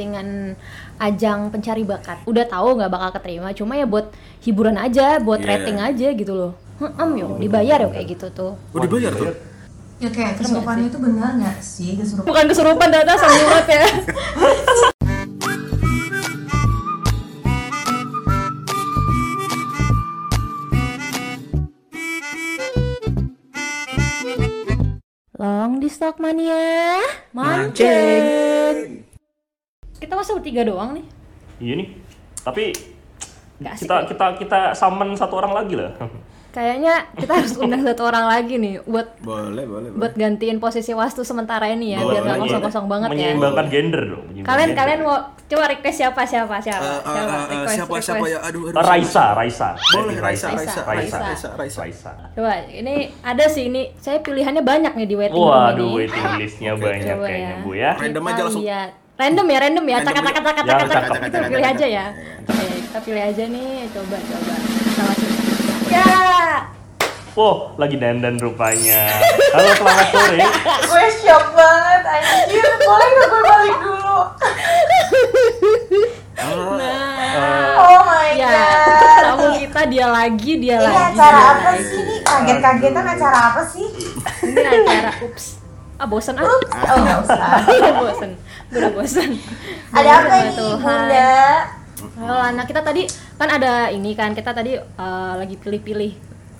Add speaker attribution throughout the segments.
Speaker 1: settingan ajang pencari bakat udah tahu nggak bakal keterima cuma ya buat hiburan aja buat
Speaker 2: Iya.
Speaker 1: rating aja gitu loh Heem yo dibayar yo kayak gitu tuh
Speaker 2: Oh dibayar tuh?
Speaker 3: Ya kayak kesurupannya itu benar nggak sih kesurupan?
Speaker 1: bukan kesurupan data sangat ya Long di Stockmania Mancing Kita masa bertiga doang nih
Speaker 4: Iya nih. Tapi
Speaker 1: Gak asik
Speaker 4: kita
Speaker 1: nih.
Speaker 4: kita kita summon satu orang lagi lah.
Speaker 1: Kayaknya kita harus undang satu orang lagi nih buat
Speaker 2: Boleh, boleh, boleh.
Speaker 1: buat gantiin posisi wastu sementara ini ya
Speaker 2: Boleh,
Speaker 1: biar nggak
Speaker 2: boleh.
Speaker 1: kosong-kosong banget ya.
Speaker 4: Menyeimbangkan gender dong. menyeimbangkan
Speaker 1: Kalian
Speaker 4: gender.
Speaker 1: kalian mau coba request siapa siapa siapa
Speaker 2: Eh, eh,
Speaker 1: siapa
Speaker 2: eh, eh,
Speaker 1: request
Speaker 2: siapa
Speaker 1: request.
Speaker 2: siapa ya? Aduh, aduh.
Speaker 4: Eh, Raisa, Raisa.
Speaker 2: Boleh,
Speaker 4: Jadi
Speaker 2: Raisa, Raisa,
Speaker 4: Raisa,
Speaker 2: Raisa, Raisa, Raisa.
Speaker 4: Raisa.
Speaker 1: Coba ini ada sih ini saya pilihannya banyak nih di waiting
Speaker 4: Waduh,
Speaker 1: room ini.
Speaker 4: waiting listnya
Speaker 2: Oke,
Speaker 4: banyak
Speaker 1: coba
Speaker 4: kayaknya
Speaker 1: ya.
Speaker 4: Bu ya.
Speaker 2: Random
Speaker 1: Kita
Speaker 2: aja langsung.
Speaker 1: lihat. Random ya, random ya.
Speaker 2: Random
Speaker 1: Cakak cakak cakak
Speaker 4: Ya,
Speaker 1: cakak cakak.
Speaker 4: cakak,
Speaker 1: Kita
Speaker 2: cakak,
Speaker 1: pilih
Speaker 2: cakak.
Speaker 1: aja ya. Oke, kita pilih aja nih. Coba coba. Kita masukin. Ya.
Speaker 4: Oh, lagi dandan rupanya. Halo, selamat sore.
Speaker 3: Gue shock banget anjir. Boleh nggak gue balik dulu?
Speaker 2: Ah,
Speaker 3: Oh my
Speaker 1: Ya,
Speaker 3: god.
Speaker 1: tamu kita dia lagi, dia
Speaker 3: Ini
Speaker 1: lagi.
Speaker 3: acara apa sih? Ini kaget-kagetan acara apa sih?
Speaker 1: Ini acara ups. Ah bosen ah.
Speaker 3: Oh nggak usah.
Speaker 1: Udah bosen. Udah bosen.
Speaker 3: Ada apa
Speaker 1: Bener,
Speaker 3: ini
Speaker 1: Tuhan.
Speaker 3: bunda?
Speaker 1: Halo, anak kita tadi kan ada ini kan kita tadi eh, lagi pilih-pilih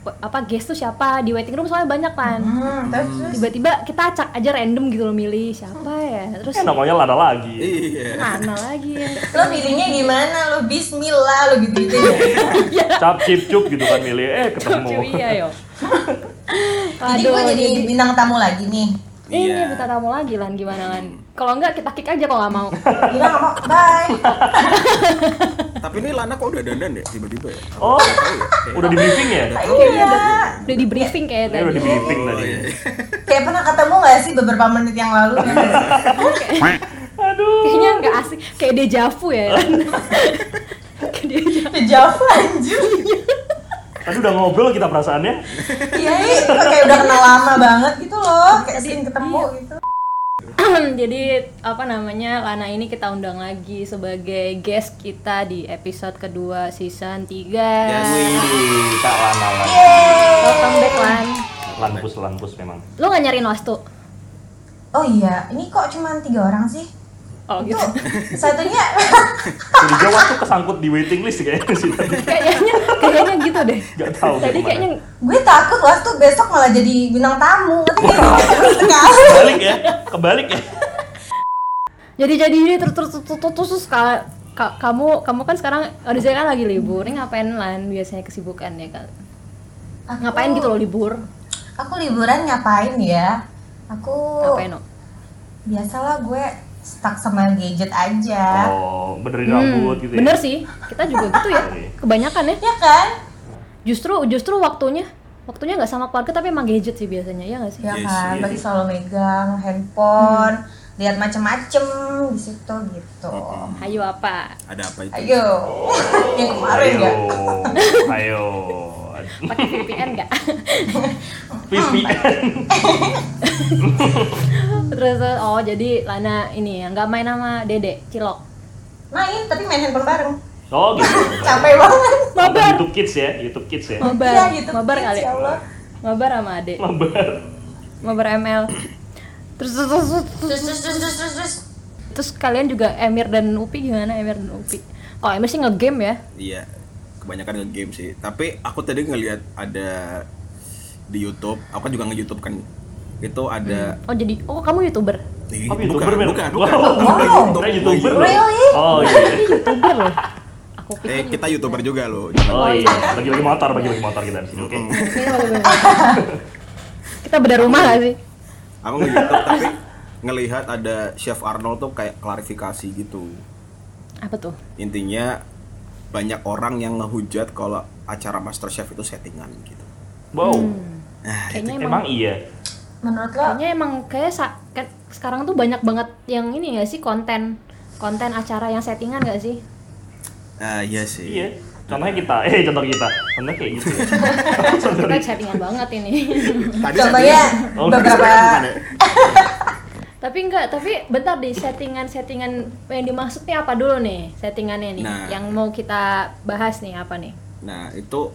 Speaker 1: pe- apa guest tuh siapa di waiting room soalnya banyak kan.
Speaker 3: Hmm, terus terus.
Speaker 1: Tiba-tiba kita acak aja random gitu loh milih siapa ya. Terus
Speaker 4: Eh, namanya Lada lagi.
Speaker 2: Iya.
Speaker 1: mana lagi ya.
Speaker 3: Lo pilihnya gimana? Lo bismillah lo gitu gitu ya?
Speaker 2: Iya.
Speaker 4: Cap cip cup gitu kan milih. Eh, ketemu.
Speaker 1: Cuy, iya yo.
Speaker 3: Jadi gue jadi bintang tamu lagi nih.
Speaker 1: ini
Speaker 2: Iya.
Speaker 1: minta tamu lagi lan gimana lan? Kalau enggak kita kick aja kalau nggak mau.
Speaker 3: Gila nggak mau, bye.
Speaker 2: Tapi ini Lana kok udah dandan ya tiba-tiba ya?
Speaker 4: Oh, udah di briefing ya?
Speaker 3: Iya.
Speaker 1: Udah di briefing kayak
Speaker 4: Ini udah
Speaker 1: tadi.
Speaker 4: di briefing
Speaker 2: Oh,
Speaker 4: tadi.
Speaker 2: iya,
Speaker 3: Kayak pernah ketemu nggak sih beberapa menit yang lalu?
Speaker 4: Aduh.
Speaker 1: Kayaknya nggak asik, kayak dejavu ya. Lan. Kayak deja-
Speaker 3: Sejauh anjir.
Speaker 4: Tadi udah ngobrol kita perasaannya.
Speaker 3: Iya, iya. kayak udah kenal lama banget gitu loh. Kayak sering ketemu gitu.
Speaker 1: Jadi apa namanya Lana ini kita undang lagi sebagai guest kita di episode kedua season 3
Speaker 4: Wih, Kak Lana lagi.
Speaker 1: Welcome back Lan.
Speaker 4: Lampus, lampus memang.
Speaker 1: Lu nggak nyariin Wastu?
Speaker 3: Oh iya, ini kok cuma tiga orang sih?
Speaker 1: Oh gitu.
Speaker 3: Tuh, satunya
Speaker 4: Curiga waktu kesangkut di waiting list kayaknya sih tadi.
Speaker 1: kayaknya kayaknya gitu deh.
Speaker 4: Gak tahu.
Speaker 1: Tadi
Speaker 4: gimana.
Speaker 1: kayaknya
Speaker 3: gue takut waktu besok malah jadi bintang tamu. Ngerti nggak? Sekali.
Speaker 4: kebalik ya, kebalik ya.
Speaker 1: jadi jadi ini terus terus terus terus terus, terus, ka- ka- kamu kamu kan sekarang Rizal kan lagi libur. Ini ngapain Lan biasanya kesibukan ya kan?
Speaker 3: Aku-
Speaker 1: Ngapain gitu loh libur?
Speaker 3: Aku liburan ngapain ya? Aku
Speaker 1: Ngapain? No?
Speaker 3: biasalah gue stuck sama gadget aja.
Speaker 4: Oh, benerin rambut
Speaker 1: Hmm,
Speaker 4: gitu ya. Iya.
Speaker 1: Bener sih. Kita juga gitu ya. Kebanyakan ya.
Speaker 3: Ya kan?
Speaker 1: Justru justru waktunya waktunya nggak sama keluarga tapi emang gadget sih biasanya ya nggak sih?
Speaker 3: Ya
Speaker 4: Iya
Speaker 2: Yes,
Speaker 3: kan,
Speaker 2: yes.
Speaker 3: bagi selalu megang handphone, lihat macem-macem di situ gitu.
Speaker 4: Hmm.
Speaker 1: Ayo apa?
Speaker 2: Ada apa itu?
Speaker 3: Ayo, yang kemarin
Speaker 4: Oh. Ayo,
Speaker 3: ya.
Speaker 4: ayo.
Speaker 1: Pakai VPN nggak?
Speaker 4: VPN.
Speaker 1: terus terus, oh jadi Lana ini ya nggak main sama Dede Cilok.
Speaker 3: Main tapi main handphone bareng.
Speaker 4: Oh gitu.
Speaker 3: Capek banget.
Speaker 4: Nonton
Speaker 1: Mabar.
Speaker 4: YouTube Kids ya, YouTube Kids ya.
Speaker 1: Mabar.
Speaker 3: Iya, gitu.
Speaker 1: Mabar kali.
Speaker 3: Ya Allah.
Speaker 1: Mabar sama Ade.
Speaker 4: Mabar.
Speaker 1: Mabar ML. Terus terus, terus, terus,
Speaker 3: Terus terus terus terus terus. terus.
Speaker 1: Terus kalian juga Emir dan Upi gimana Emir dan Upi? Oh Emir sih ngegame ya?
Speaker 2: Iya. Kebanyakan nge-game sih. Tapi aku tadi ngelihat ada di YouTube, aku kan juga nge-YouTube kan. Itu ada
Speaker 1: Oh jadi oh kamu youtuber?
Speaker 2: Ih,
Speaker 4: Apa Hmm. Oh, youtuber men?
Speaker 2: bukan, bukan,
Speaker 4: Wow,
Speaker 2: Aku nggak YouTube,
Speaker 4: Kita youtuber.
Speaker 2: nggak YouTube.
Speaker 3: Really?
Speaker 4: Oh iya.
Speaker 1: Youtuber loh. Aku
Speaker 2: Eh,
Speaker 1: pikir.
Speaker 2: kita youtuber juga loh.
Speaker 4: Oh iya. Bagi-bagi motor, bagi-bagi motor kita di sini. Oke.
Speaker 1: Ini bagaimana? kita beda rumah gak sih?
Speaker 2: Aku nge-YouTube tapi ngelihat ada Chef Arnold tuh kayak klarifikasi gitu.
Speaker 1: Apa tuh?
Speaker 2: Intinya banyak orang yang ngehujat kalau acara MasterChef itu settingan gitu.
Speaker 4: Wow.
Speaker 2: Nah,
Speaker 1: Kayaknya Hmm, emang
Speaker 4: Emang iya.
Speaker 3: Menurut lo
Speaker 1: kayaknya emang kayak sa- kayak sekarang tuh banyak banget yang ini gak sih konten konten acara yang settingan gak sih?
Speaker 2: Ah, iya sih.
Speaker 4: Iya. Contohnya kita, eh contoh kita, contoh kayak gitu. Contoh
Speaker 1: Kita settingan banget kan ini.
Speaker 2: Tadi
Speaker 3: ya. contohnya
Speaker 2: settingan-
Speaker 4: Oh,
Speaker 3: beberapa
Speaker 2: Bukan ya?
Speaker 1: Tapi enggak, tapi bentar di settingan-settingan yang dimaksudnya apa dulu nih? Settingannya nih
Speaker 2: Nah.
Speaker 1: yang mau kita bahas nih apa nih?
Speaker 2: Nah itu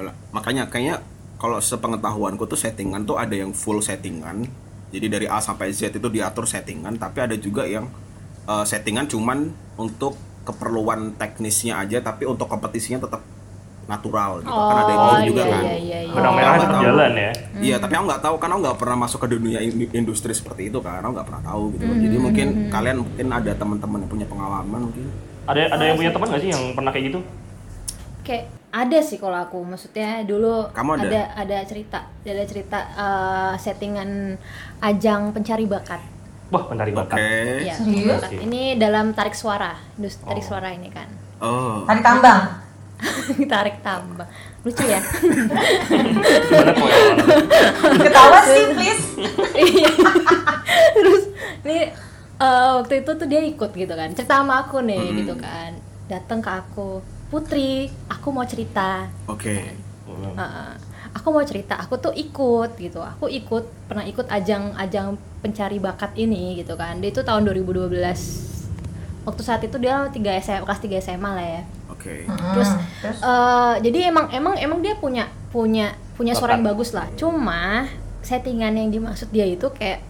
Speaker 2: lah, makanya kayaknya kalau sepengetahuanku tuh settingan tuh ada yang full settingan. Jadi dari A sampai Z itu diatur settingan, tapi ada juga yang eh, settingan cuman untuk keperluan teknisnya aja, tapi untuk kompetisinya tetap natural gitu. kan ada yang
Speaker 1: Oh,
Speaker 2: gitu juga
Speaker 1: iya,
Speaker 2: kan.
Speaker 1: iya, iya, iya.
Speaker 4: Benang
Speaker 2: Aku
Speaker 4: merah
Speaker 2: nggak
Speaker 4: tetap
Speaker 2: tahu.
Speaker 4: jalan ya.
Speaker 2: Iya, tapi aku nggak tahu karena aku nggak pernah masuk ke dunia in- industri seperti itu karena aku nggak pernah tahu gitu. loh. Jadi mungkin kalian mungkin ada teman-teman yang punya pengalaman mungkin.
Speaker 4: Ada ada
Speaker 1: Ah,
Speaker 4: yang punya teman nggak sih yang pernah kayak gitu?
Speaker 1: Kayak ada sih kalau aku, maksudnya dulu
Speaker 2: Kamu ada?
Speaker 1: ada ada cerita, ada cerita eh, settingan ajang pencari bakat.
Speaker 4: Wah, pencari
Speaker 2: Oke.
Speaker 4: bakat.
Speaker 2: Eh,
Speaker 1: Iya,
Speaker 3: Serius?
Speaker 1: bakat. Ini dalam tarik suara, industri tarik suara ini kan.
Speaker 2: Oh.
Speaker 3: Tarik tambang.
Speaker 1: tarik tambah. Lucu ya?
Speaker 4: Gimana ya? pengalaman?
Speaker 3: Ketawa sih, please.
Speaker 1: Iya. terus ini eh, waktu itu tuh dia ikut gitu kan cerita sama aku nih
Speaker 2: Hmm.
Speaker 1: gitu kan datang ke aku Putri aku mau cerita
Speaker 2: Oke.
Speaker 1: Heeh. aku mau cerita aku tuh ikut gitu aku ikut pernah ikut ajang-ajang pencari bakat ini gitu kan dia itu tahun 2012 waktu saat itu dia 3 SMA kelas 3 SMA lah ya
Speaker 2: Oke.
Speaker 3: Mm-mm.
Speaker 1: Terus,
Speaker 3: Hmm, terus
Speaker 1: Eh, jadi emang emang emang dia punya punya punya suara yang
Speaker 4: Bakat.
Speaker 1: bagus lah. Cuma settingan yang dimaksud dia itu kayak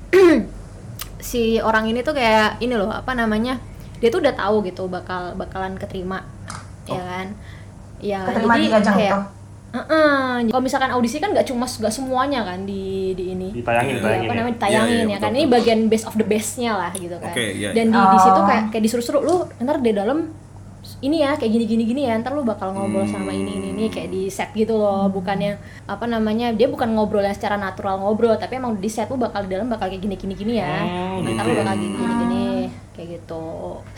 Speaker 1: si orang ini tuh kayak ini loh apa namanya dia tuh udah tahu gitu bakal bakalan keterima, ya kan? Ya
Speaker 3: Oh. keterima di ajang itu.
Speaker 1: "Eh-eh." kalau misalkan audisi kan nggak cuma nggak semuanya kan di di ini
Speaker 4: Ditayangin,
Speaker 1: di apa
Speaker 4: ditayangin ya.
Speaker 1: namanya
Speaker 2: Iya,
Speaker 1: ditayangin
Speaker 2: iya,
Speaker 1: ya kan
Speaker 2: betul,
Speaker 1: ini
Speaker 2: betul.
Speaker 1: bagian best of the bestnya lah gitu kan
Speaker 2: Oke, iya,
Speaker 1: dan di di situ
Speaker 3: Oh.
Speaker 1: kayak kayak disuruh-suruh lu ntar di dalam ini ya kayak gini gini gini ya ntar lu bakal ngobrol
Speaker 2: Hmm.
Speaker 1: sama ini ini ini kayak di set gitu loh bukannya apa namanya dia bukan ngobrol yang secara natural ngobrol tapi emang di set lu bakal di dalam bakal kayak gini gini gini ya
Speaker 4: Hmm,
Speaker 1: ntar
Speaker 4: gitu
Speaker 1: lu
Speaker 4: ya.
Speaker 1: bakal gini gini gini
Speaker 2: Hmm.
Speaker 1: kayak gitu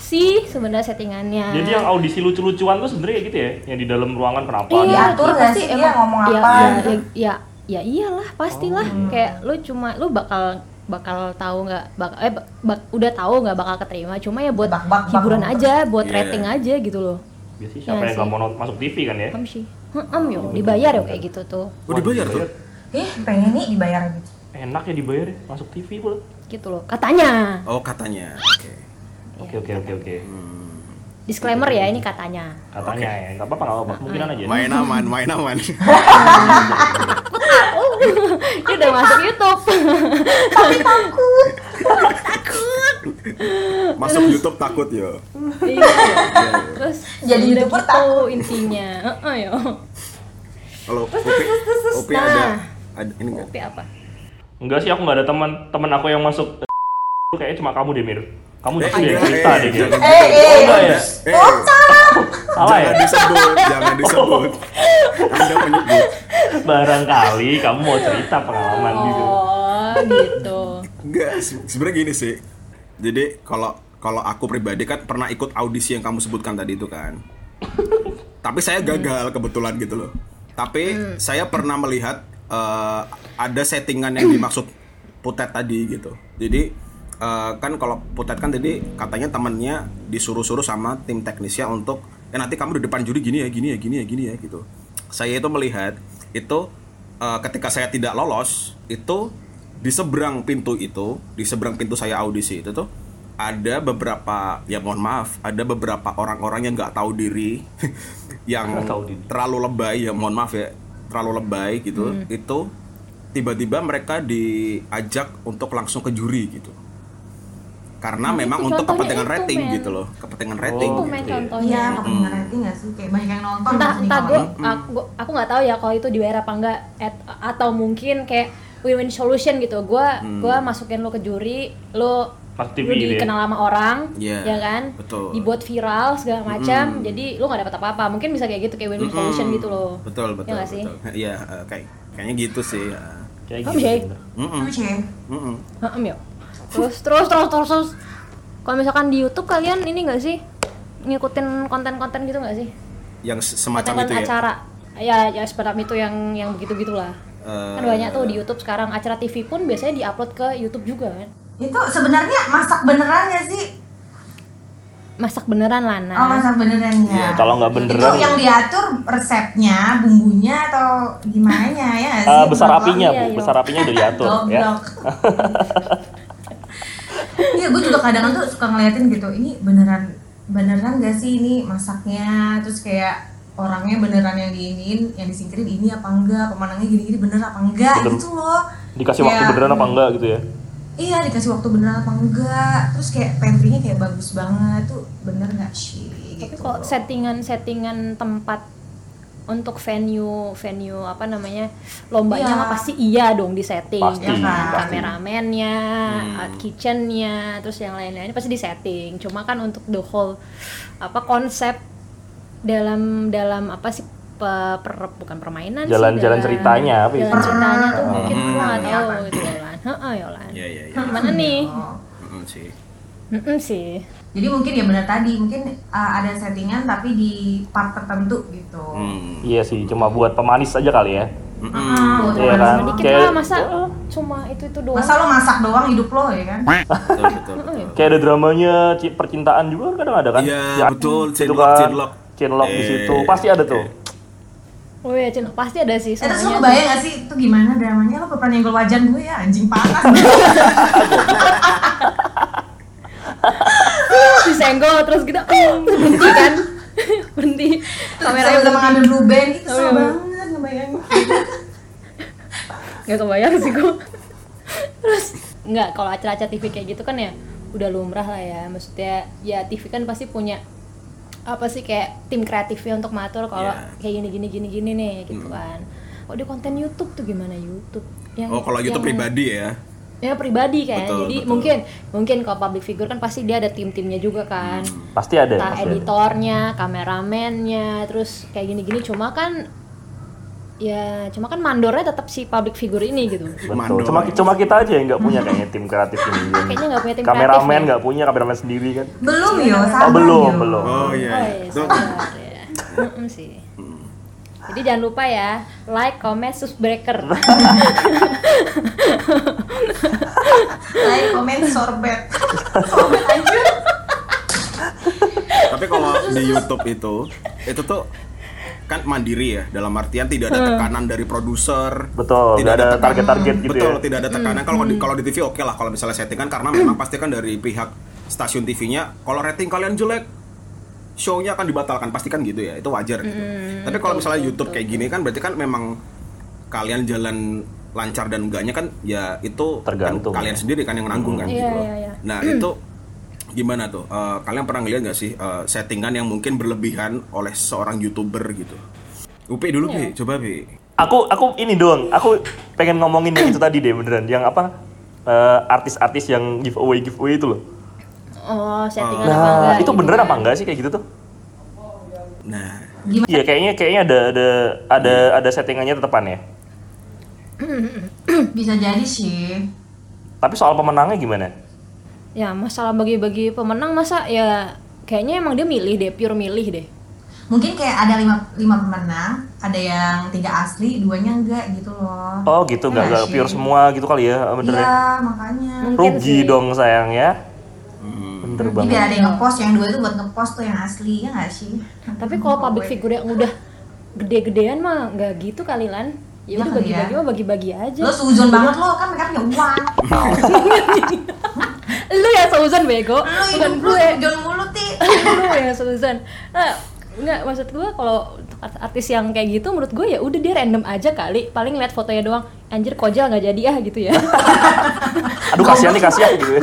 Speaker 1: sih sebenarnya settingannya
Speaker 4: Jadi yang audisi lucu-lucuan tuh sebenarnya kayak gitu ya, yang di dalam ruangan
Speaker 1: Iya,
Speaker 4: penampilan.
Speaker 1: iya,
Speaker 3: Diatur nggak
Speaker 1: pasti
Speaker 3: sih dia
Speaker 1: emang-
Speaker 3: ngomong
Speaker 1: iya,
Speaker 3: apa? gitu. Oh.
Speaker 1: Iya, iya, iya, ya iyalah pastilah kayak lu cuma lu bakal bakal tahu nggak bakal eh bak- bak- udah tahu nggak bakal keterima cuma ya buat
Speaker 3: Bak- bak- bak-
Speaker 1: hiburan
Speaker 3: bak-
Speaker 1: aja buat
Speaker 2: Iya.
Speaker 1: rating aja gitu loh
Speaker 4: Biasanya siapa
Speaker 1: Iya
Speaker 4: yang nggak
Speaker 1: sih.
Speaker 4: mau nont- masuk TV kan ya?
Speaker 1: paham sih hmm yo dibayar yo kayak gitu tuh
Speaker 2: Oh, dibayar tuh.
Speaker 3: Ih, pengen nih dibayar gitu.
Speaker 4: Enak ya dibayar ya, masuk TV pula.
Speaker 1: gitu loh katanya
Speaker 2: Oh, katanya. Oke.
Speaker 4: Oke oke oke oke.
Speaker 2: Hmm.
Speaker 1: disclaimer ya ini katanya
Speaker 4: Katanya ya, nggak apa-apa nggak apa-apa, kemungkinan
Speaker 1: Iya.
Speaker 4: aja.
Speaker 2: Main aman, main aman.
Speaker 1: ini udah masuk YouTube
Speaker 3: Iya,
Speaker 2: Masuk YouTube takut yo.
Speaker 1: Iya. terus
Speaker 3: Jadi
Speaker 1: udah
Speaker 3: YouTuber
Speaker 1: gitu
Speaker 3: takut.
Speaker 1: intinya Heeh, yo
Speaker 2: Kalau Upi, Upi ada, ada ini enggak?
Speaker 1: Kopi apa
Speaker 4: Enggak sih, aku nggak ada teman. Teman aku yang masuk eh, kayaknya cuma kamu deh Mir. Kamu
Speaker 2: Eh,
Speaker 4: justru deh
Speaker 2: enggak,
Speaker 4: cerita
Speaker 2: eh,
Speaker 4: deh gitu.
Speaker 2: jangan.
Speaker 3: Eh,
Speaker 4: Oh
Speaker 3: eh,
Speaker 4: enggak ya?
Speaker 2: Eh,
Speaker 4: Salah ya?
Speaker 2: jangan disebut, jangan disebut. Anda menyebut.
Speaker 4: Barangkali kamu mau cerita pengalaman gitu.
Speaker 1: oh gitu
Speaker 2: Iya, Enggak, se- sebenarnya gini sih. Jadi kalau kalau aku pribadi kan pernah ikut audisi yang kamu sebutkan tadi itu kan. Tapi saya gagal kebetulan gitu loh. Tapi saya pernah melihat eh, ada settingan yang dimaksud Putet tadi gitu. Jadi eh, kan kalau Putet kan tadi katanya temannya disuruh-suruh sama tim teknisnya untuk ya nanti kamu di depan juri gini ya, gini ya, gini ya, gini ya gitu. Saya itu melihat itu eh, ketika saya tidak lolos itu di seberang pintu itu, di seberang pintu saya audisi itu tuh ada beberapa ya mohon maaf, ada beberapa orang-orang yang nggak tahu diri yang
Speaker 4: Nggak tahu diri.
Speaker 2: terlalu lebay ya mohon maaf ya, terlalu lebay gitu.
Speaker 1: Hmm.
Speaker 2: Itu tiba-tiba mereka diajak untuk langsung ke juri gitu. Karena
Speaker 1: Nah,
Speaker 2: memang
Speaker 1: itu
Speaker 2: untuk
Speaker 1: contohnya itu,
Speaker 2: kepentingan rating
Speaker 1: men. Oh,
Speaker 2: gitu loh, kepentingan
Speaker 1: itu
Speaker 2: rating.
Speaker 4: gitu
Speaker 1: main
Speaker 4: ya.
Speaker 1: contohnya
Speaker 3: Iya, kepentingan rating nggak sih? Kayak banyak yang nonton.
Speaker 1: entah
Speaker 3: terus
Speaker 1: entah
Speaker 3: di
Speaker 1: gue
Speaker 3: komen.
Speaker 2: Hmm.
Speaker 1: aku nggak tahu ya kalau itu dibayar apa enggak at- atau mungkin kayak win-win solution gitu gue
Speaker 2: Hmm.
Speaker 1: gua masukin lo ke juri lo
Speaker 4: Pas TV
Speaker 1: lu
Speaker 4: gitu ya.
Speaker 1: dikenal sama orang
Speaker 2: Iya,
Speaker 1: ya kan
Speaker 2: betul. Hmm.
Speaker 1: dibuat viral segala macam jadi lo nggak dapat apa-apa mungkin bisa kayak gitu kayak win-win solution
Speaker 2: Mm-mm.
Speaker 1: gitu loh
Speaker 2: Betul, betul,
Speaker 1: nggak sih?
Speaker 2: betul. Iya, eh, kayak kayaknya gitu sih. ya.
Speaker 4: Kayak
Speaker 1: Kamu
Speaker 4: gitu.
Speaker 1: sih.
Speaker 4: bener.
Speaker 2: Mm-mm,
Speaker 3: Lucu ya?
Speaker 2: mm-mm.
Speaker 1: Heem, yo. terus terus terus terus, terus. kalau misalkan di YouTube kalian ini nggak sih ngikutin konten-konten gitu nggak sih
Speaker 2: Yang se- semacam itu
Speaker 1: konten
Speaker 2: ya.
Speaker 1: acara ya ya semacam itu yang yang begitu gitulah
Speaker 2: Eh,
Speaker 1: kan banyak tuh di YouTube sekarang acara TV pun biasanya diupload ke YouTube juga kan
Speaker 3: Itu sebenarnya masak beneran ya sih?
Speaker 1: masak beneran
Speaker 3: Oh,
Speaker 1: Lana
Speaker 3: masak beneran ya?
Speaker 4: Iya, kalau nggak beneran.
Speaker 3: Itu yang diatur resepnya, bumbunya atau gimana ya? nggak
Speaker 4: Ah,
Speaker 3: sih?
Speaker 4: besar
Speaker 3: Goblok.
Speaker 4: apinya,
Speaker 1: Iya,
Speaker 4: Bu.
Speaker 1: iya.
Speaker 4: Besar apinya udah diatur ya.
Speaker 3: Goblok. gue Iya, juga kadang tuh suka ngeliatin gitu ini beneran beneran gak sih ini masaknya terus kayak orangnya beneran yang diinin yang disingkirin ini apa enggak pemanangnya gini-gini bener apa enggak
Speaker 4: Bener.
Speaker 3: gitu loh
Speaker 4: Dikasih waktu
Speaker 3: Kayak-
Speaker 4: beneran apa enggak gitu ya?
Speaker 3: iya dikasih waktu beneran apa enggak terus kayak pantry-nya kayak bagus banget tuh bener nggak sih
Speaker 1: Tapi
Speaker 3: gitu
Speaker 1: kok
Speaker 3: loh.
Speaker 1: settingan-settingan tempat untuk venue venue apa namanya lombanya
Speaker 3: Iya.
Speaker 1: mah pasti iya dong di setting
Speaker 4: Pasti, Hmm.
Speaker 3: Iya kan?
Speaker 4: pasti.
Speaker 1: kameramennya, art kitchennya, terus yang lain-lainnya pasti di setting. Cuma kan untuk the whole apa konsep dalam dalam apa sih pe- per- bukan permainan sih,
Speaker 4: Jalan-jalan
Speaker 1: dalam-
Speaker 4: ceritanya, apa ya?
Speaker 1: jalan ceritanya tuh mungkin
Speaker 2: Hmm.
Speaker 1: gua nggak tahu
Speaker 3: Iya, Apa?
Speaker 1: gitu Yolan. Heeh, kan. Yolan.
Speaker 2: Iya iya iya.
Speaker 1: Gimana nih?
Speaker 3: Oh.
Speaker 2: Mm-mm sih.
Speaker 1: Mm-mm sih.
Speaker 3: jadi mungkin ya bener tadi mungkin uh, ada settingan tapi di part tertentu gitu
Speaker 2: Hmm.
Speaker 4: Iya sih, cuma buat pemanis aja kali ya.
Speaker 1: Ah,
Speaker 2: Mm-mm.
Speaker 3: Oh,
Speaker 4: Iya
Speaker 3: cuman
Speaker 4: kan?
Speaker 1: Cuma dikit
Speaker 4: Kayak-
Speaker 1: lah masa eh, cuma itu itu doang.
Speaker 3: masa lo masak doang hidup lo ya kan
Speaker 2: Betul betul betul.
Speaker 4: Kayak ada dramanya ci- percintaan juga kadang ada kan?
Speaker 2: Iya,
Speaker 4: Ya,
Speaker 2: betul,
Speaker 4: gitu
Speaker 2: cinlok,
Speaker 4: kan.
Speaker 2: cinlok.
Speaker 4: Cinlok di
Speaker 2: Eh,
Speaker 4: situ. Pasti ada tuh.
Speaker 1: Oh iya, Cin, pasti ada sih
Speaker 3: Eh, terus lo
Speaker 1: semuanya.
Speaker 3: kebayang gak sih itu gimana dramanya lo beban nyenggol wajan gue ya anjing panas
Speaker 1: Disenggol terus gitu, "Oh," terus berhenti kan? berhenti.
Speaker 3: terus
Speaker 1: Kamera
Speaker 3: saya udah mengambil blue band itu
Speaker 1: Oh,
Speaker 3: seru
Speaker 1: iya.
Speaker 3: banget ngebayangin
Speaker 1: nggak kebayang sih gua. terus nggak kalau acara-acara TV kayak gitu kan ya udah lumrah lah ya. Maksudnya ya TV kan pasti punya apa sih kayak tim kreatifnya untuk matur kalau
Speaker 2: Iya. Hmm.
Speaker 1: kayak gini gini gini gini nih gitu kan. Oh dia konten YouTube tuh gimana YouTube? Yang,
Speaker 2: Oh, kalau
Speaker 4: Iya.
Speaker 2: YouTube
Speaker 1: yang-
Speaker 2: pribadi ya.
Speaker 1: Ya pribadi kan.
Speaker 2: Betul,
Speaker 1: Jadi
Speaker 2: betul.
Speaker 1: mungkin mungkin kalau public figure kan pasti dia ada tim-timnya juga kan.
Speaker 2: Hmm.
Speaker 4: Pasti ada.
Speaker 1: Entah
Speaker 4: Iya, pasti ada.
Speaker 1: editornya, kameramennya, terus kayak gini-gini cuma kan ya cuma kan mandornya tetap si public figure ini gitu.
Speaker 4: Betul.
Speaker 2: Mandor.
Speaker 4: Cuma cuma kita aja yang nggak punya kayaknya tim kreatif ini.
Speaker 1: Nah, Kayaknya nggak punya tim kreatif
Speaker 4: Kameramen
Speaker 1: ya.
Speaker 4: nggak punya, kameramen sendiri kan.
Speaker 3: belum yo sabar
Speaker 4: Oh, belum,
Speaker 3: yo.
Speaker 4: belum.
Speaker 2: Oh
Speaker 1: Oh,
Speaker 2: iya. iya. Hmm.
Speaker 1: iya,
Speaker 2: Tuh,
Speaker 1: sabar ya. Mm-mm sih. Jadi jangan lupa ya, like, comment, subscriber.
Speaker 3: like komen sorbet sorbet aja
Speaker 2: Tapi kalau di YouTube itu, itu tuh kan mandiri ya dalam artian tidak ada tekanan dari produser.
Speaker 4: Hmm. Betul, nggak ada
Speaker 2: tekanan-
Speaker 4: target-target gitu
Speaker 2: Betul,
Speaker 4: ya.
Speaker 2: tidak
Speaker 1: Hmm,
Speaker 2: ada tekanan. Kalau di kalau di TV oke lah kalau misalnya settingan karena memang pasti kan dari pihak stasiun TV-nya kalau rating kalian jelek show-nya akan dibatalkan pasti kan gitu ya. Itu wajar gitu.
Speaker 1: Hmm,
Speaker 2: Tapi kalau misalnya YouTube kayak gini kan berarti kan memang kalian jalan lancar dan enggaknya kan ya itu kan
Speaker 4: Tergantung.
Speaker 2: kalian sendiri kan yang nanggung kan
Speaker 1: Iya,
Speaker 2: gitu loh.
Speaker 1: iya, iya.
Speaker 2: Nah, itu gimana tuh? Eh, kalian pernah ngeliat nggak sih eh, settingan yang mungkin berlebihan oleh seorang youtuber gitu? Upi dulu
Speaker 1: Iya.
Speaker 2: Pi, coba Pi.
Speaker 4: Aku aku ini doang. Aku pengen ngomongin yang itu tadi deh beneran. Yang apa? eh, artis-artis yang giveaway giveaway itu loh.
Speaker 1: Oh, settingan apa
Speaker 2: Ah,
Speaker 4: Nah,
Speaker 1: enggak?
Speaker 4: itu
Speaker 1: gitu
Speaker 4: beneran apa
Speaker 1: kan.
Speaker 4: enggak sih kayak gitu tuh?
Speaker 2: Nah,
Speaker 4: Iya, kayaknya kayaknya ada ada ada ada settingannya tetepan ya.
Speaker 3: bisa jadi sih
Speaker 4: Tapi soal pemenangnya gimana?
Speaker 1: Ya, masalah bagi-bagi pemenang masa ya kayaknya emang dia milih deh, pure milih deh.
Speaker 3: mungkin kayak ada lima, lima pemenang ada yang tiga asli duanya enggak gitu loh
Speaker 4: Oh, gitu
Speaker 3: Iya
Speaker 4: nggak nggak
Speaker 3: sih?
Speaker 4: pure semua gitu kali ya benernya.
Speaker 3: iya makanya
Speaker 1: Nah, Mungkin
Speaker 4: Rugi
Speaker 1: sih.
Speaker 4: dong sayang ya.
Speaker 2: hmm.
Speaker 4: Bener
Speaker 3: Jadi
Speaker 4: banget.
Speaker 3: biar ada yang ngepost yang dua itu buat ngepost tuh yang asli ya nggak sih
Speaker 1: Tapi kalau public figure yang udah gede-gedean mah nggak gitu kali lan. Ya udah
Speaker 3: Iya kali ya.
Speaker 1: bagi-bagi mah bagi-bagi aja.
Speaker 3: lo suzon banget lo kan mereka punya uang
Speaker 1: Lu ya Susan bego,
Speaker 3: lo
Speaker 1: bukan
Speaker 3: hidup lo
Speaker 1: gue.
Speaker 3: suzon mulu ti
Speaker 1: Lu ya Susan. Nah, Enggak, maksud gue kalau untuk art- artis yang kayak gitu menurut gue ya udah dia random aja kali paling lihat fotonya doang anjir kojal nggak jadi ah gitu ya
Speaker 4: Aduh kasihan nih kasihan gitu. ya.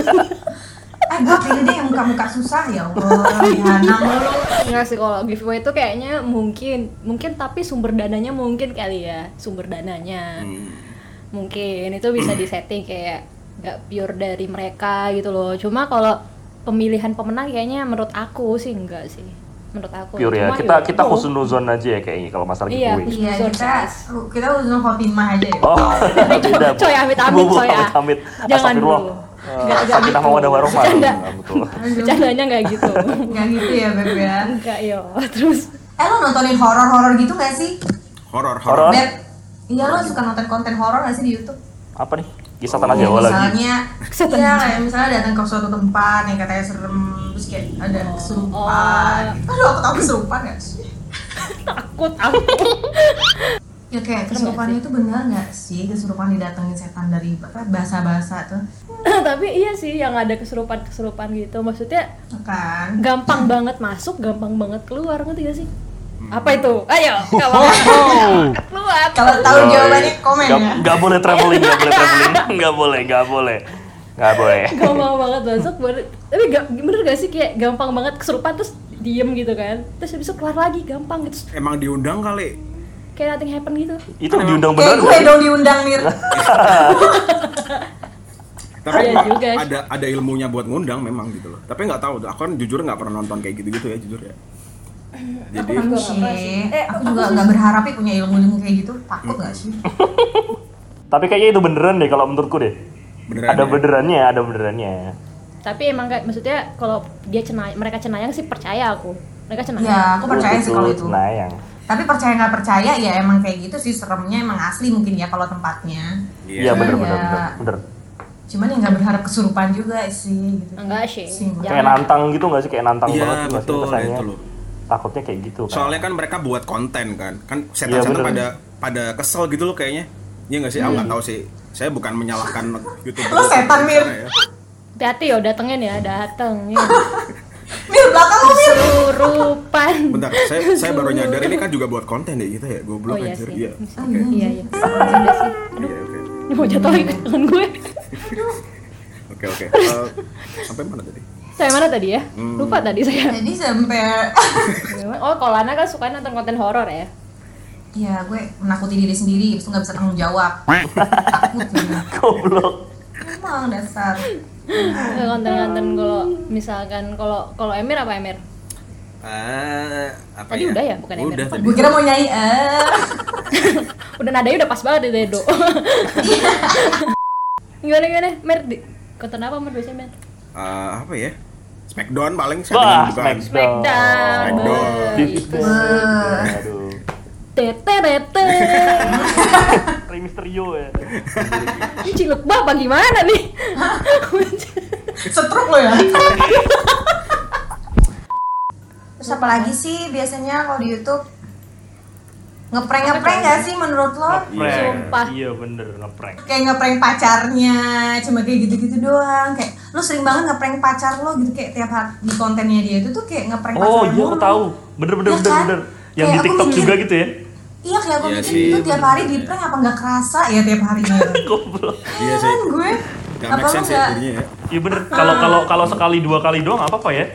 Speaker 3: eh gue pilih deh yang muka-muka susah ya allah gimana lo
Speaker 1: Enggak sih kalau giveaway itu kayaknya mungkin mungkin tapi sumber dananya mungkin kali ya sumber dananya mungkin itu bisa disetting kayak nggak pure dari mereka gitu loh cuma kalau pemilihan pemenang kayaknya menurut aku sih enggak sih menurut aku
Speaker 4: Pure ya.
Speaker 1: Cuma oh.
Speaker 4: Kita kita
Speaker 1: itu.
Speaker 4: khusnuzon aja ya kayaknya kalau masalah
Speaker 1: gitu. Iya,
Speaker 4: giveaway.
Speaker 3: Iya
Speaker 1: Zon
Speaker 3: kita
Speaker 1: size.
Speaker 3: kita uzon Fatimah aja ya.
Speaker 4: Oh, beda. Bu.
Speaker 1: coy amit amit
Speaker 4: Bu, bu,
Speaker 1: coy ah.
Speaker 4: amit amit.
Speaker 1: jangan
Speaker 4: Astagfirullah.
Speaker 1: dulu
Speaker 4: Eh,
Speaker 1: Nggak, nggak
Speaker 4: Sakinah
Speaker 1: gitu.
Speaker 4: mawadah warahmah.
Speaker 1: Bercanda.
Speaker 4: Nggak, betul.
Speaker 3: Aduh,
Speaker 1: bercandanya nggak gitu
Speaker 3: nggak gitu ya Beb ya.
Speaker 1: enggak yo terus
Speaker 3: Eh lo nontonin horor-horor gitu nggak sih?
Speaker 2: horor
Speaker 4: Horor.
Speaker 2: horor.
Speaker 3: Beb, iya lo suka nonton konten horor nggak sih di YouTube?
Speaker 4: Apa nih? Kisah tanah
Speaker 3: Kayak
Speaker 4: Jawa lagi.
Speaker 3: Oh, misalnya,
Speaker 1: Setan.
Speaker 3: iya kayak misalnya datang ke suatu tempat yang katanya serem, terus kayak ada kesurupan. Aduh, aku tahu kesurupan nggak sih?
Speaker 1: takut aku
Speaker 3: ya kayak kesurupannya itu benar nggak sih kesurupan didatengin setan dari apa bahasa-bahasa tuh
Speaker 1: tapi iya sih yang ada kesurupan kesurupan gitu maksudnya
Speaker 3: kan
Speaker 1: gampang banget masuk gampang banget keluar ngerti gak sih apa itu ayo kalau keluar
Speaker 3: kalau tahu
Speaker 4: Yoi.
Speaker 3: jawabannya komen
Speaker 4: Nggak-
Speaker 3: ya
Speaker 4: nggak boleh traveling, nggak boleh traveling, nggak boleh, nggak boleh, nggak boleh.
Speaker 1: gampang banget masuk baru- tapi ga- bener gak sih kayak gampang banget kesurupan terus diem gitu kan terus habis itu keluar lagi gampang gitu Terus
Speaker 2: Emang diundang kali.
Speaker 1: kayak nothing happen gitu
Speaker 4: Itu diundang
Speaker 3: kayak
Speaker 4: beneran
Speaker 3: gue
Speaker 4: nggak?
Speaker 3: dong diundang mir
Speaker 2: Tapi
Speaker 1: Iya
Speaker 2: emang
Speaker 1: juga sih.
Speaker 2: ada ada ilmunya buat ngundang memang gitu loh. Tapi nggak tahu, tuh, aku kan jujur nggak pernah nonton kayak gitu-gitu ya jujur ya. Jadi
Speaker 1: Aku nggak apa-apa sih.
Speaker 3: sih
Speaker 1: Eh,
Speaker 3: aku juga nggak berharap ya punya ilmu ilmu kayak gitu takut nggak sih
Speaker 4: Tapi kayaknya itu beneran deh kalau menurutku deh.
Speaker 2: Beneran
Speaker 4: ada
Speaker 2: ya?
Speaker 4: benerannya, ada benerannya.
Speaker 1: tapi emang kayak maksudnya kalau dia cenay mereka cenayang sih percaya aku mereka cenayang
Speaker 3: ya aku percaya sih kalau itu
Speaker 4: Nah, yang
Speaker 3: tapi percaya nggak percaya ya emang kayak gitu sih seremnya emang asli mungkin ya kalau tempatnya
Speaker 4: Iya bener bener
Speaker 3: Iya.
Speaker 4: bener bener.
Speaker 3: cuman ya nggak berharap kesurupan juga sih gitu
Speaker 1: enggak sih
Speaker 3: Sih,
Speaker 4: Kayak
Speaker 1: jangan
Speaker 4: nantang gitu nggak sih? Kayak nantang
Speaker 2: Iya,
Speaker 4: banget nggak sih
Speaker 2: betul,
Speaker 4: kesannya?
Speaker 2: itu loh.
Speaker 4: Takutnya kayak gitu. kan.
Speaker 2: Soalnya kan mereka buat konten kan. Kan setan-setan
Speaker 4: Iya, bener. Hmm.
Speaker 2: pada pada kesel gitu loh kayaknya. Iya nggak sih? Aku nggak tahu sih. Saya bukan menyalahkan YouTuber.
Speaker 3: Lo setan, Mir.
Speaker 2: Ya.
Speaker 1: hati-hati ya datengin ya dateng ya.
Speaker 3: mir belakang lu mir
Speaker 1: kesurupan
Speaker 2: Bentar, saya saya baru nyadar ini kan juga buat konten ya kita ya. Goblok
Speaker 1: Oh, iya
Speaker 2: anjir.
Speaker 1: sih.
Speaker 2: Iya. Oke.
Speaker 1: iya iya Sudah sih aduh
Speaker 2: Iya, oke.
Speaker 1: ini mau jatuh lagi ke tangan gue
Speaker 2: Oke, oke. Eh, sampai mana tadi?
Speaker 1: saya mana tadi ya
Speaker 2: Hmm.
Speaker 1: lupa tadi saya
Speaker 3: jadi sampai
Speaker 1: oh Kolana kan suka nonton konten horor ya
Speaker 3: ya gue menakuti diri sendiri terus nggak bisa tanggung jawab takut gitu.
Speaker 4: Goblok.
Speaker 3: emang dasar
Speaker 1: Nggak, konten-konten kalau misalkan kalau kalau Emir apa Emir
Speaker 2: Eh, apa
Speaker 1: Tadi udah ya, bukan Ember?
Speaker 2: Udah tadi.
Speaker 3: gue kira mau nyanyi eh
Speaker 1: udah nadanya udah pas banget deh do gimana gimana Mer di konten apa Mer biasanya Mer
Speaker 2: Eh, apa ya? Smackdown paling saya
Speaker 4: Wah,
Speaker 2: bukan.
Speaker 4: Smackdown.
Speaker 1: Smackdown
Speaker 2: Smackdown.
Speaker 1: Boy.
Speaker 4: Di- Aduh.
Speaker 1: tete tete
Speaker 4: Rey Mysterio ya.
Speaker 1: ini ciluk bapak gimana nih
Speaker 3: setruk lo ya terus apa lagi sih biasanya kalau di YouTube ngeprank ngeprank nggak sih menurut lo
Speaker 4: Prank.
Speaker 1: Sumpah.
Speaker 4: Iya bener ngeprank.
Speaker 3: kayak ngeprank pacarnya cuma kayak gitu-gitu doang kayak lo sering banget ngeprank pacar lo gitu kayak tiap hari di kontennya dia itu tuh kayak ngeprank
Speaker 4: Oh
Speaker 3: pacarnya
Speaker 4: iya aku
Speaker 3: mulu.
Speaker 4: tahu. Bener bener
Speaker 3: Kan Iya
Speaker 4: bener
Speaker 3: kan?
Speaker 4: bener. Yang di
Speaker 3: Kayak aku
Speaker 4: TikTok
Speaker 3: mikir-
Speaker 4: juga gitu ya.
Speaker 3: iya kayak aku
Speaker 2: Iya
Speaker 3: mikir
Speaker 2: sih,
Speaker 3: itu tiap hari di prank apa nggak kerasa ya tiap harinya
Speaker 4: Goblok.
Speaker 2: Iya sih.
Speaker 3: kan gue
Speaker 2: Gak
Speaker 3: apa
Speaker 2: make
Speaker 3: lo
Speaker 2: sense ya
Speaker 3: nggak
Speaker 2: jadinya ya.
Speaker 4: Iya bener. Kalau kalau kalau sekali dua kali doang apa apa ya.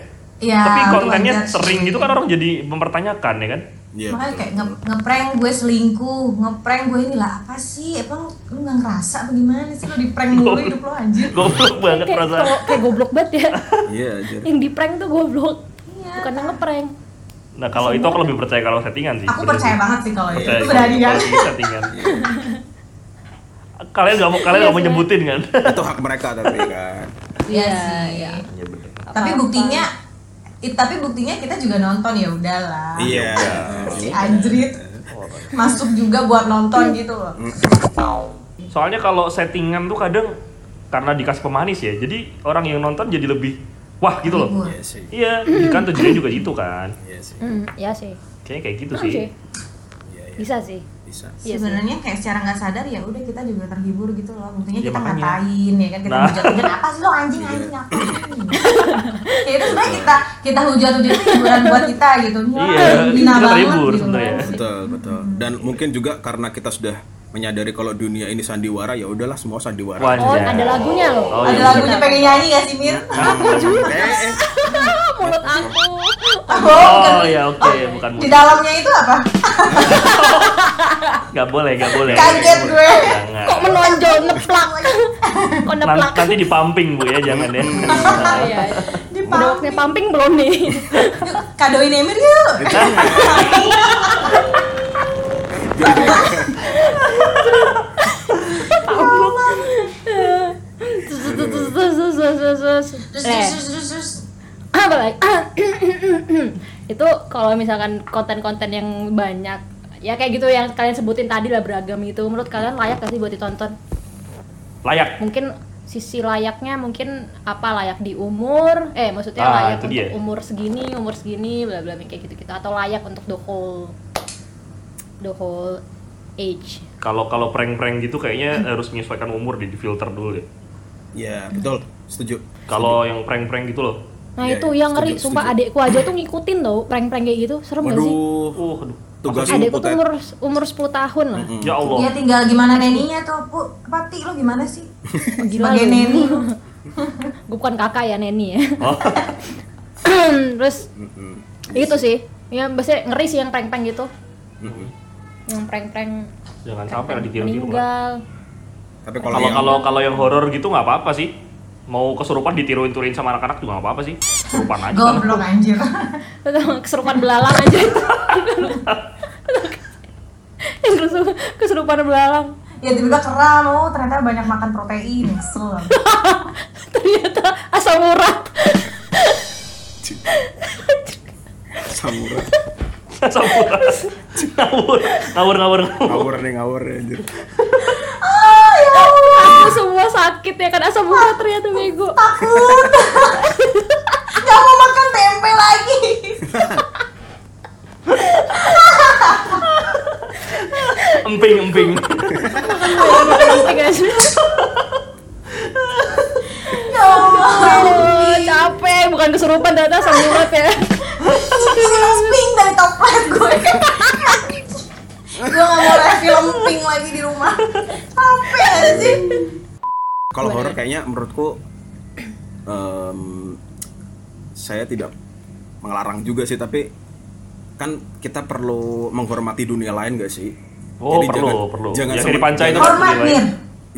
Speaker 3: Iya,
Speaker 4: Tapi
Speaker 3: itu
Speaker 4: kontennya
Speaker 3: wajar
Speaker 4: sering
Speaker 3: sih.
Speaker 4: gitu kan orang jadi mempertanyakan ya kan.
Speaker 2: Iya.
Speaker 3: makanya
Speaker 2: betul.
Speaker 3: kayak nge ngeprank gue selingkuh ngeprank gue inilah apa sih emang lu nggak ngerasa apa gimana sih lo di prank mulu hidup lo anjir
Speaker 4: Goblok banget
Speaker 1: kayak
Speaker 4: Kan perasaan.
Speaker 1: kalau- kayak goblok banget ya
Speaker 2: Iya, anjir.
Speaker 1: yang di prank tuh goblok
Speaker 3: Iya.
Speaker 1: bukan yang ngeprank
Speaker 4: Nah kalau itu aku lebih percaya kalau settingan sih.
Speaker 3: aku
Speaker 2: Iya,
Speaker 4: bener
Speaker 3: percaya
Speaker 4: sih.
Speaker 3: banget sih kalau
Speaker 4: Percaya
Speaker 3: itu berani
Speaker 4: kalau
Speaker 3: kan
Speaker 4: itu settingan. kalian nggak mau kalian nggak mau nyebutin kan?
Speaker 2: Itu hak mereka tapi kan.
Speaker 3: iya
Speaker 1: Iya,
Speaker 3: sih
Speaker 1: iya.
Speaker 4: Iya bener.
Speaker 3: tapi buktinya i- tapi buktinya kita juga nonton ya udahlah
Speaker 2: Iya.
Speaker 3: si anjrit masuk juga buat nonton
Speaker 2: Iya.
Speaker 3: gitu loh
Speaker 4: Soalnya kalau settingan tuh kadang karena dikasih pemanis ya, jadi orang yang nonton jadi lebih wah gitu loh.
Speaker 3: Hibur.
Speaker 2: Iya sih.
Speaker 4: Iya, kan tujuannya juga gitu kan.
Speaker 2: Iya sih.
Speaker 1: hmm, ya sih
Speaker 4: Kayaknya kayak gitu
Speaker 1: Bisa
Speaker 4: sih.
Speaker 1: sih
Speaker 2: Iya, iya.
Speaker 1: bisa sih
Speaker 2: Bisa.
Speaker 1: Iya sih.
Speaker 3: sebenarnya kayak secara nggak sadar ya udah kita juga terhibur gitu loh buktinya
Speaker 4: Iya,
Speaker 3: kita
Speaker 4: makanya.
Speaker 3: ngatain ya kan kita
Speaker 4: Nah. Iya.
Speaker 3: hujat-hujat apa sih lo anjing anjing apa ya itu sebenarnya kita kita hujat-hujat itu hiburan buat kita gitu Nyah,
Speaker 4: Iya,
Speaker 3: hina
Speaker 4: kita
Speaker 3: banget
Speaker 4: terhibur
Speaker 3: gitu
Speaker 4: sebenarnya.
Speaker 3: loh.
Speaker 2: Betul, betul. Dan mungkin juga karena kita sudah menyadari kalau dunia ini sandiwara, ya udahlah semua sandiwara.
Speaker 4: Wajar.
Speaker 1: oh ada lagunya loh
Speaker 4: Oh,
Speaker 3: ada
Speaker 4: iya.
Speaker 3: lagunya pengen nyanyi gak sih Mir?
Speaker 4: Nah,
Speaker 2: Eh, eh.
Speaker 1: mulut aku
Speaker 3: Oh, bukan.
Speaker 4: Oh ya oke, bukan
Speaker 3: Di
Speaker 4: musik.
Speaker 3: dalamnya itu apa?
Speaker 4: Gak boleh, gak boleh.
Speaker 3: Kaget gue.
Speaker 4: Jangan.
Speaker 1: kok menonjol ngeplak kok
Speaker 4: Nan-
Speaker 1: ngeplak
Speaker 4: Nanti di pumping bu ya, jangan ya.
Speaker 1: Iya, iya.
Speaker 3: Di
Speaker 1: udah waktunya pumping belum nih
Speaker 3: Yuk, kadoin Emir yuk.
Speaker 4: Gitu.
Speaker 1: Sus, sus, sus, sus, sus, sus, sus.
Speaker 3: Terus
Speaker 1: Eh,
Speaker 3: terus terus terus, terus.
Speaker 1: apa lagi itu kalau misalkan konten-konten yang banyak ya kayak gitu yang kalian sebutin tadi lah beragam gitu menurut kalian layak gak sih buat ditonton
Speaker 4: Layak.
Speaker 1: mungkin sisi layaknya mungkin apa layak di umur eh maksudnya
Speaker 4: Ah,
Speaker 1: layak
Speaker 4: itu
Speaker 1: untuk
Speaker 4: dia.
Speaker 1: umur segini umur segini bla bla bla, kayak gitu gitu atau layak untuk the whole the whole age.
Speaker 4: Kalau kalau prank-prank gitu kayaknya harus menyesuaikan umur deh, di filter dulu deh.
Speaker 2: Ya, betul. Setuju.
Speaker 4: Kalau yang prank-prank gitu loh.
Speaker 1: Nah
Speaker 2: Iya,
Speaker 1: itu
Speaker 2: iya,
Speaker 1: yang ngeri,
Speaker 2: setuju,
Speaker 1: sumpah
Speaker 2: setuju.
Speaker 1: adekku aja tuh ngikutin tuh prank-prank kayak gitu, serem gak sih?
Speaker 2: Waduh.
Speaker 4: Uh, aduh.
Speaker 2: Tugas lu
Speaker 1: Adekku tuh
Speaker 2: putet.
Speaker 1: umur umur 10 tahun lah.
Speaker 4: Ya Allah.
Speaker 3: Dia Iya, tinggal gimana neninya tuh, Bu. Pati lo gimana sih?
Speaker 1: Gila
Speaker 3: Sebagai
Speaker 1: lu.
Speaker 3: neni.
Speaker 1: Gue bukan kakak ya neni ya.
Speaker 4: Oh,
Speaker 1: Terus itu sih, ya biasanya ngeri sih yang prank-prank gitu,
Speaker 2: Mm-mm.
Speaker 1: yang prank-prank
Speaker 4: jangan sampai lah ditiru-tiru lah.
Speaker 1: meninggal.
Speaker 2: Tapi kalau
Speaker 4: Kalau
Speaker 2: yang
Speaker 4: kalau kalau yang horor gitu nggak apa-apa sih. Mau kesurupan ditiruin-tiruin sama anak-anak juga nggak apa-apa sih. Kesurupan aja.
Speaker 3: Goblok anjir.
Speaker 1: Atau keserupan belalang aja. yang kesu- keserupan belalang.
Speaker 3: ya tiba-tiba keram, oh ternyata banyak makan protein. Kesel.
Speaker 1: Ternyata asam urat.
Speaker 2: samurai
Speaker 4: Samurai. ngawur, ngawur, ngawur, ngawur.
Speaker 2: ngawur nih ngawur nih, anjir.
Speaker 3: Ah, ya
Speaker 1: Aku semua sakit ya kan asam urat ternyata bego.
Speaker 3: Takut. Gak mau makan tempe lagi.
Speaker 4: Emping, emping.
Speaker 1: Penting aja.
Speaker 3: Ya Allah.
Speaker 1: Aduh, capek bukan kesurupan ternyata asam urat ya.
Speaker 3: Film pink dari toples gue. gue gak mau lihat film pink lagi di rumah. Capek aja sih.
Speaker 2: Kalau horor kayaknya menurutku em, saya tidak mengelarang juga sih tapi kan kita perlu menghormati dunia lain gak sih?
Speaker 4: Oh, perlu, perlu.
Speaker 2: Jangan
Speaker 4: Yang
Speaker 2: semen-
Speaker 4: dipancai itu
Speaker 2: jangan-
Speaker 3: Hormat Mir.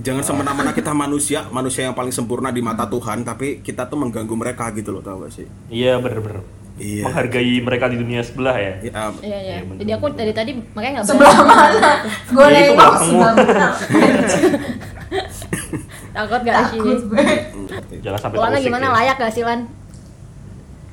Speaker 2: jangan semena-mena kita manusia, manusia yang paling sempurna di mata Tuhan, tapi kita tuh mengganggu mereka gitu loh, tau gak sih?
Speaker 4: Iya, bener-bener.
Speaker 2: Iya.
Speaker 4: Menghargai mereka di dunia sebelah ya.
Speaker 2: Ya, em,
Speaker 1: Iya iya. Jadi aku dari tadi makanya nggak
Speaker 3: Sebelah
Speaker 1: berani.
Speaker 3: mana? Gue
Speaker 4: Ya, itu
Speaker 3: nengok
Speaker 4: belakangmu.
Speaker 3: sebelah mana.
Speaker 1: Takut gak sih?
Speaker 3: Takut gue.
Speaker 2: mm, seperti itu.
Speaker 4: Jangan sampai
Speaker 1: Lana
Speaker 4: terusik
Speaker 1: gimana
Speaker 4: ya.
Speaker 1: layak gak sih Lan?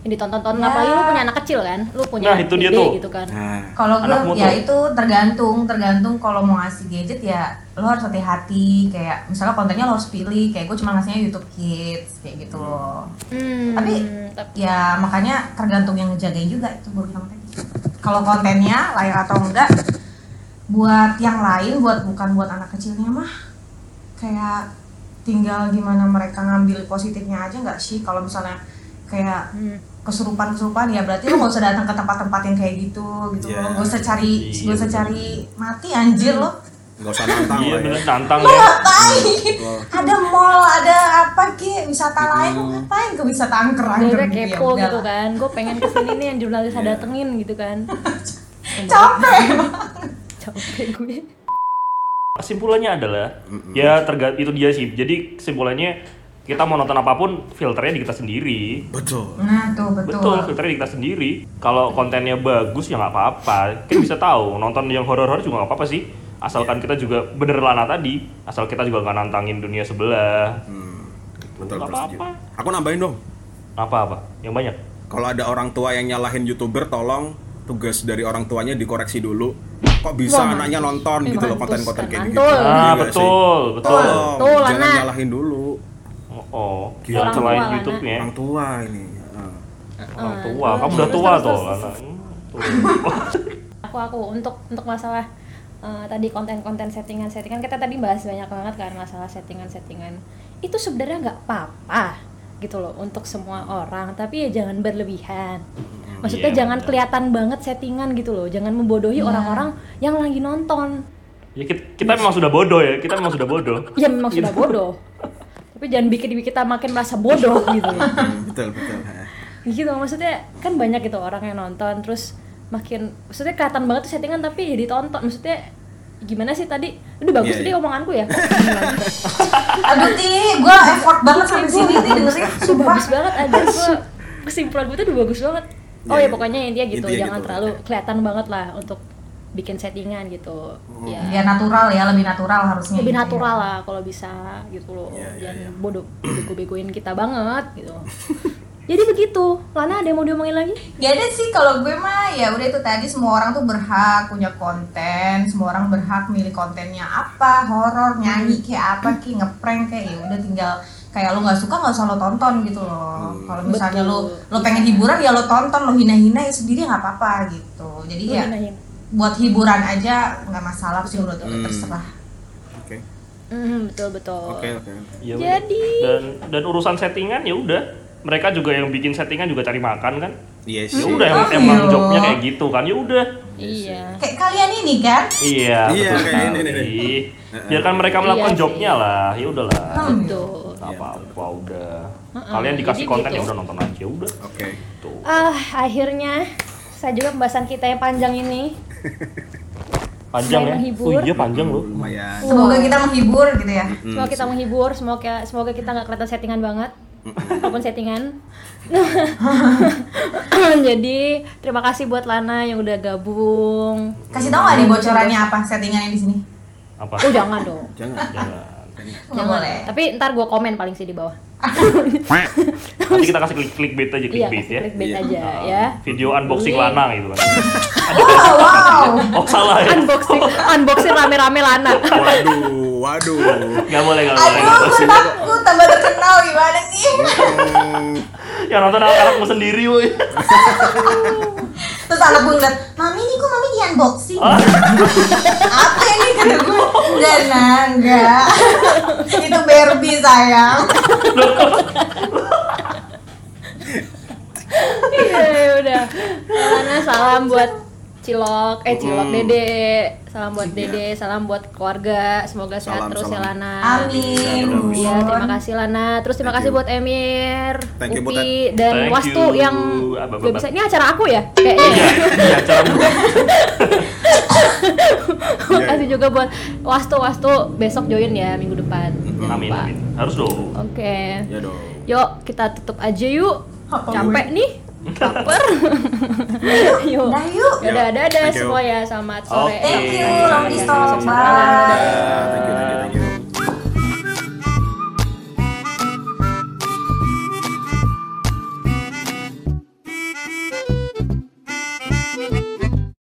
Speaker 1: Yang ditonton-tonton
Speaker 3: Ya.
Speaker 1: apalagi lu punya anak kecil kan? Lu punya
Speaker 4: Nah,
Speaker 1: anak
Speaker 4: itu dia
Speaker 1: gede
Speaker 4: tuh.
Speaker 1: gitu kan.
Speaker 2: Nah,
Speaker 3: Kalau
Speaker 4: Anakmu
Speaker 3: gue ya
Speaker 4: tuh.
Speaker 3: itu tergantung, tergantung kalau mau ngasih gadget ya lo harus hati-hati kayak misalnya kontennya lo harus pilih kayak gue cuma ngasihnya YouTube Kids kayak gitu loh.
Speaker 1: Hmm,
Speaker 3: Tapi
Speaker 1: tapi
Speaker 3: ya makanya tergantung yang ngejagain juga itu gue bilang tadi. Kalau kontennya layak atau enggak buat yang lain buat bukan buat anak kecilnya mah kayak tinggal gimana mereka ngambil positifnya aja nggak sih kalau misalnya kayak
Speaker 1: Hmm.
Speaker 3: kesurupan-kesurupan ya berarti lo gak usah datang ke tempat-tempat yang kayak gitu gitu
Speaker 2: Iya. Hmm.
Speaker 3: lo gak usah cari
Speaker 4: Iya,
Speaker 3: gak usah
Speaker 4: bener.
Speaker 3: cari mati anjir lo
Speaker 2: nggak usah nantang
Speaker 4: Iya,
Speaker 2: lah ya.
Speaker 4: bener, tantang ya.
Speaker 3: ngapain
Speaker 2: Lo
Speaker 3: ada mall ada apa ke wisata lain lo
Speaker 2: Hmm.
Speaker 3: ngapain ke wisata angker angker
Speaker 1: gue
Speaker 3: gitu ya,
Speaker 1: kepo
Speaker 3: udah
Speaker 1: gitu
Speaker 3: lah.
Speaker 1: kan. Gue pengen kesini nih yang jurnalis
Speaker 2: Iya.
Speaker 1: ada datengin gitu kan.
Speaker 3: capek
Speaker 1: Capek gue.
Speaker 4: Kesimpulannya adalah ya terga- itu dia sih. Jadi kesimpulannya kita mau nonton apapun filternya di kita sendiri.
Speaker 2: Betul.
Speaker 3: nah tuh betul,
Speaker 4: Betul, filternya di kita sendiri. Kalau kontennya bagus ya nggak apa-apa. Kita bisa tahu nonton yang horor-horor juga nggak apa-apa sih. Asalkan kita juga bener lana tadi, asal kita juga nggak nantangin dunia sebelah.
Speaker 2: Hmm, betul,
Speaker 4: Nggak
Speaker 2: betul, setuju.
Speaker 4: apa-apa.
Speaker 2: Aku nambahin dong.
Speaker 4: Apa-apa? Yang banyak.
Speaker 2: Kalau ada orang tua yang nyalahin youtuber, tolong tugas dari orang tuanya dikoreksi dulu. Kok bisa
Speaker 1: Wah,
Speaker 2: anaknya nonton
Speaker 1: Eh,
Speaker 2: gitu
Speaker 1: mantus,
Speaker 2: loh konten-konten kayak gitu.
Speaker 1: mantul.
Speaker 2: Iya
Speaker 4: Ah,
Speaker 2: nggak sih?
Speaker 4: betul, betul.
Speaker 2: Tolong,
Speaker 1: Betul,
Speaker 2: jangan
Speaker 1: anak.
Speaker 2: nyalahin dulu
Speaker 4: Oh, oh.
Speaker 2: Gila.
Speaker 4: yang
Speaker 1: Orang
Speaker 4: selain
Speaker 1: tua, Lana.
Speaker 4: YouTube-nya.
Speaker 2: orang tua ini. Ah, Heeh.
Speaker 4: Orang
Speaker 1: Eh,
Speaker 4: tua, kamu
Speaker 1: terus,
Speaker 4: udah
Speaker 1: terus,
Speaker 4: tua
Speaker 1: terus,
Speaker 4: tuh,
Speaker 1: terus.
Speaker 4: Lana. Hmm, tuh.
Speaker 1: Aku aku untuk untuk masalah eh, tadi konten-konten settingan-settingan kita tadi bahas banyak banget kan masalah settingan-settingan. Itu sebenarnya nggak apa-apa gitu loh untuk semua orang, tapi ya jangan berlebihan. Maksudnya
Speaker 4: Iya,
Speaker 1: jangan
Speaker 4: benar. Iya.
Speaker 1: kelihatan banget settingan gitu loh, jangan membodohi orang-orang yang lagi nonton.
Speaker 4: Ya kita, kita memang sudah bodoh ya, kita memang sudah bodoh.
Speaker 1: Ya memang
Speaker 4: Iya.
Speaker 1: sudah bodoh. Tapi jangan bikin kita makin merasa bodoh gitu. loh.
Speaker 2: Hmm, betul, betul. Heeh.
Speaker 1: gitu maksudnya kan banyak gitu orang yang nonton terus makin maksudnya kelihatan banget tuh settingan tapi ya ditonton maksudnya gimana sih tadi udah bagus
Speaker 2: Iya,
Speaker 1: deh
Speaker 2: iya.
Speaker 1: omonganku ya Kok gimana?
Speaker 3: aduh ti gue effort banget sampai sini ti dengerin
Speaker 1: Udah
Speaker 3: sumpah
Speaker 1: bagus banget aja gua kesimpulan gue tuh udah bagus banget oh
Speaker 2: Iya,
Speaker 1: ya
Speaker 2: iya.
Speaker 1: pokoknya intinya gitu
Speaker 2: Intinya
Speaker 1: jangan
Speaker 2: gitu.
Speaker 1: terlalu kelihatan banget lah untuk bikin settingan gitu
Speaker 2: Oh.
Speaker 1: ya
Speaker 3: ya natural ya lebih natural harusnya
Speaker 1: lebih
Speaker 3: gitu ya.
Speaker 1: natural lah kalau bisa gitu loh
Speaker 2: Iya, iya,
Speaker 1: jangan
Speaker 2: iya.
Speaker 1: bodoh bego-begoin kita banget gitu jadi begitu Lana ada yang mau diomongin lagi
Speaker 3: Gak ada sih kalau gue mah ya udah itu tadi semua orang tuh berhak punya konten, semua orang berhak milih kontennya apa, horor, nyanyi kayak apa, kayak ngeprank kayak ya udah tinggal kayak lo nggak suka nggak usah lo tonton gitu loh. Kalau misalnya lo
Speaker 1: Betul.
Speaker 3: lo pengen hiburan ya lo tonton, lo hina-hina ya sendiri nggak apa-apa gitu. Jadi
Speaker 1: Lu
Speaker 3: ya
Speaker 1: hinain.
Speaker 3: buat hiburan aja nggak masalah sih menurut gue
Speaker 2: Hmm.
Speaker 3: terserah
Speaker 2: Oke.
Speaker 1: Mhm, betul betul.
Speaker 2: Oke, oke.
Speaker 4: Ya udah.
Speaker 1: Jadi-
Speaker 4: dan dan urusan settingan ya udah mereka juga yang bikin settingan juga cari makan kan
Speaker 2: Iya sih.
Speaker 4: ya udah
Speaker 3: Oh,
Speaker 4: emang, emang
Speaker 3: iya.
Speaker 4: jobnya kayak gitu kan ya udah
Speaker 1: Iya.
Speaker 3: kayak kalian ini kan
Speaker 4: iya
Speaker 2: Iya,
Speaker 4: betul
Speaker 2: kayak ini
Speaker 4: sekali.
Speaker 2: nih.
Speaker 4: biarkan mereka melakukan
Speaker 1: Iya sih.
Speaker 4: jobnya lah ya udahlah
Speaker 3: Hmm.
Speaker 1: Betul.
Speaker 4: Nggak apa-apa udah
Speaker 1: Heeh,
Speaker 4: kalian dikasih
Speaker 1: jadi
Speaker 4: konten
Speaker 1: gitu.
Speaker 4: ya udah nonton aja udah
Speaker 2: Oke.
Speaker 4: tuh
Speaker 1: Ah, akhirnya saya juga pembahasan kita yang panjang ini.
Speaker 4: panjang
Speaker 1: Saya
Speaker 4: ya
Speaker 1: menghibur.
Speaker 4: oh iya panjang loh
Speaker 2: Lumayan.
Speaker 3: semoga kita menghibur gitu ya
Speaker 1: Semoga kita menghibur, semoga semoga kita nggak kelihatan settingan banget, walaupun settingan. Jadi terima kasih buat Lana yang udah gabung.
Speaker 3: kasih tau nggak nih bocorannya apa settingan yang di sini
Speaker 4: apa
Speaker 1: Oh jangan dong,
Speaker 2: Jangan.
Speaker 4: Jangan.
Speaker 3: nggak boleh
Speaker 1: Tapi ntar gue komen paling sih di bawah.
Speaker 4: nanti kita kasih klik klik aja klik
Speaker 1: Iya,
Speaker 4: bait
Speaker 1: kasih
Speaker 4: ya
Speaker 1: clickbait
Speaker 2: Iya.
Speaker 1: aja ya.
Speaker 4: video unboxing
Speaker 1: Iya.
Speaker 4: lanang gitu kan
Speaker 3: wow wow
Speaker 4: oh salah ya
Speaker 1: Unboxing, unboxing rame-rame Lana.
Speaker 2: Waduh, waduh.
Speaker 4: nggak boleh nggak boleh nggak
Speaker 3: aduh
Speaker 4: boleh.
Speaker 3: gue takut tambah terkenal gimana sih
Speaker 2: Hmm,
Speaker 4: yang nonton anak-anakmu sendiri woi
Speaker 3: terus anak gue ngeliat mami ini kok mami di unboxing apa ini kata gue enggak nah enggak itu Barbie sayang
Speaker 1: Iya, ya udah. Lana salam buat Cilok, eh Cilok
Speaker 2: Mm.
Speaker 1: Dede. Salam buat Dede, salam buat keluarga. Semoga sehat
Speaker 2: Iya. Salam,
Speaker 1: terus ya
Speaker 2: salam.
Speaker 1: Lana.
Speaker 3: amin
Speaker 2: Terus.
Speaker 1: Iya, terima kasih Lana. Terus terima
Speaker 2: Thank
Speaker 1: kasih
Speaker 2: you.
Speaker 1: buat Emir,
Speaker 2: Thank you,
Speaker 1: Upi, dan
Speaker 4: Thank
Speaker 1: Wastu
Speaker 4: you.
Speaker 1: yang
Speaker 4: Apa, apa,
Speaker 1: gak
Speaker 4: apa.
Speaker 1: bisa. Ini acara aku ya? Kayaknya.
Speaker 4: Iya, acara buka.
Speaker 1: Terima kasih juga buat Wastu, Wastu besok join ya minggu depan.
Speaker 2: Hmm.
Speaker 1: Jangan
Speaker 4: amin
Speaker 1: lupa.
Speaker 4: amin harus dong
Speaker 1: Oke.
Speaker 2: Ya dong.
Speaker 1: Yuk, kita tutup aja yuk.
Speaker 3: Apa
Speaker 1: Capek nih. Caper. yuk.
Speaker 3: dah yuk
Speaker 1: Dadah, dadah
Speaker 2: Thank you.
Speaker 1: semua ya. Selamat sore.
Speaker 4: Oke.
Speaker 3: thank you
Speaker 4: Oke.
Speaker 3: Long
Speaker 1: Bye.
Speaker 3: Distance
Speaker 2: Ah,
Speaker 3: bye
Speaker 2: thank you, thank you, thank you.